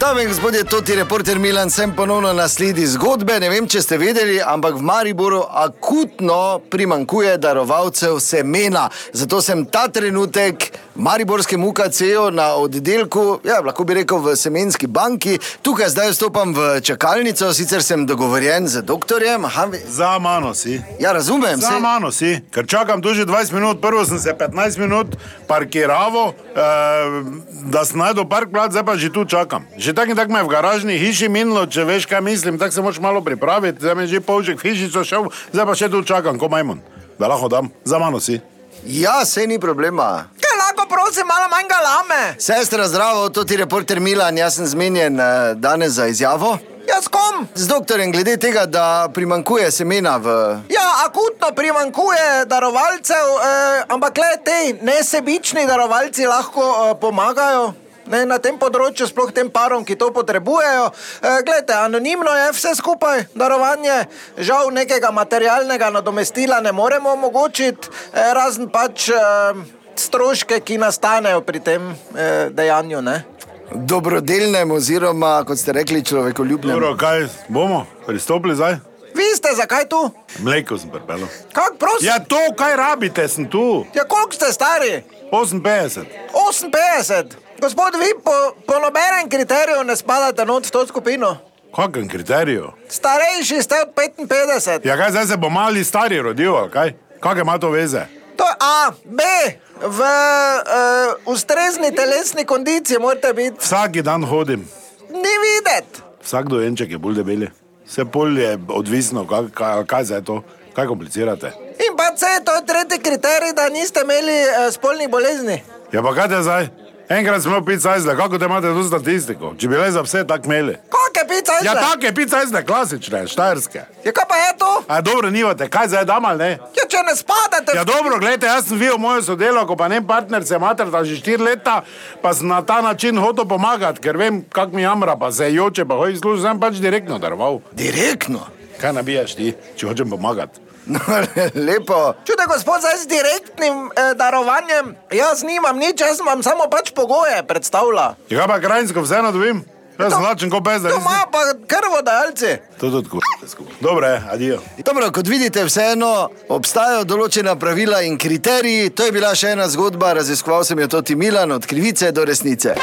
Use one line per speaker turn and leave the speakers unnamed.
Dame in gospodje, to ti reporter Milan, sem ponovno na sledi zgodbe. Ne vem, če ste vedeli, ampak v Mariboru akutno primankuje darovalcev semena. Zato sem ta trenutek v Mariborskem UKC-ju E na oddelku, ja, lahko bi rekel v semenski banki. Tukaj zdaj vstopam v čakalnico, sicer sem dogovorjen z doktorjem. Aha, vi-
Za mano si.
ja, razumem.
Za
saj-
mano si, ker čakam tu že 20 minut, prvo sem se 15 minut parkiraval, eh, da sem najdel park plat, zdaj pa že tu čakam. Že tako in tako me je v garažni hiši minilo, če veš, kaj mislim, tako se moraš malo pripraviti, zdaj me je že polžek v hišico šel, zdaj pa še tu čakam, ko majmun, da lahko dam, za mano si.
Ja, se ni problema.
Kaj lahko prosim, malo manj galame?
Sestra, zdravo, to ti reporter Milan, jaz sem zmenjen eh, danes za izjavo.
Jaz kom?
Z doktorjem glede tega, da primankuje semena v
Ja, akutno primankuje darovalcev, eh, ampak le te nesebični darovalci lahko eh, pomagajo. Ne, na tem področju, sploh tem parom, ki to potrebujejo. E, glede, anonimno je vse skupaj, darovanje. Žal nekega materialnega nadomestila ne moremo omogočiti, e, razen pač e, stroške, ki nastanejo pri tem e, dejanju. Ne?
dobrodelnem, oziroma kot ste rekli, človekoljubnem.
Dobro, kaj bomo, pristopili zdaj?
Vi ste zakaj tu?
Mleko sem pripeljal.
Kako prosim?
Ja, to, kaj rabite, sem tu,
Ja, koliko ste stari?
58.
58. Gospod, vi po, po nobenem kriteriju ne spadate not v to skupino.
Kakšen kriterij?
Starejši ste od 55.
Ja, kaj zdaj se bo mali stari rodil, ali kaj? Kakšne ima to veze?
To je A, B, v uh, ustrezni telesni kondiciji morate biti.
Vsak dan hodim,
Ni videti.
vsak dojenček je bolj debeli. Vse bolj je odvisno, kaj, kaj, kaj za to, kaj komplicirate.
In pa C, to je tretji kriterij, da niste imeli uh, spolnih bolezni.
Ja, pa kaj te zdaj? Enkrat smo pili cajzle, kako te imate tu statistiko? Če bi le za vse tako imeli.
Kakšne pice je?
Ja, tako je, pil cajzle, klasične, štajerske.
Ja, kaj pa je to?
A dobro, nivate, kaj zdaj dam ali ne?
Ja, če ne spadate,
Ja,
v-
dobro, gledajte, jaz sem videl mojo sodelavko, pa ne partner, se matrata že štiri leta, pa sem na ta način hotel pomagati, ker vem, kak mi jamra, pa se joče, pa hoji služiti, sem pač direktno daroval.
Direktno.
Kaj nabijaš ti, če hočem pomagati?
No, lepo.
Čute, gospod, zdaj z direktnim eh, darovanjem, jaz nimam nič, jaz vam samo pač pogoje predstavlja.
Ja, pa krajinsko vseeno dobim, jaz sem lačen kot pes, da
To ima pa krvodajalci.
To tudi kurite skupaj. Dobro, je, adijo.
Dobro, kot vidite, vseeno obstajajo določena pravila in kriteriji. To je bila še ena zgodba, raziskoval sem jo Toti Milan, od krivice do resnice.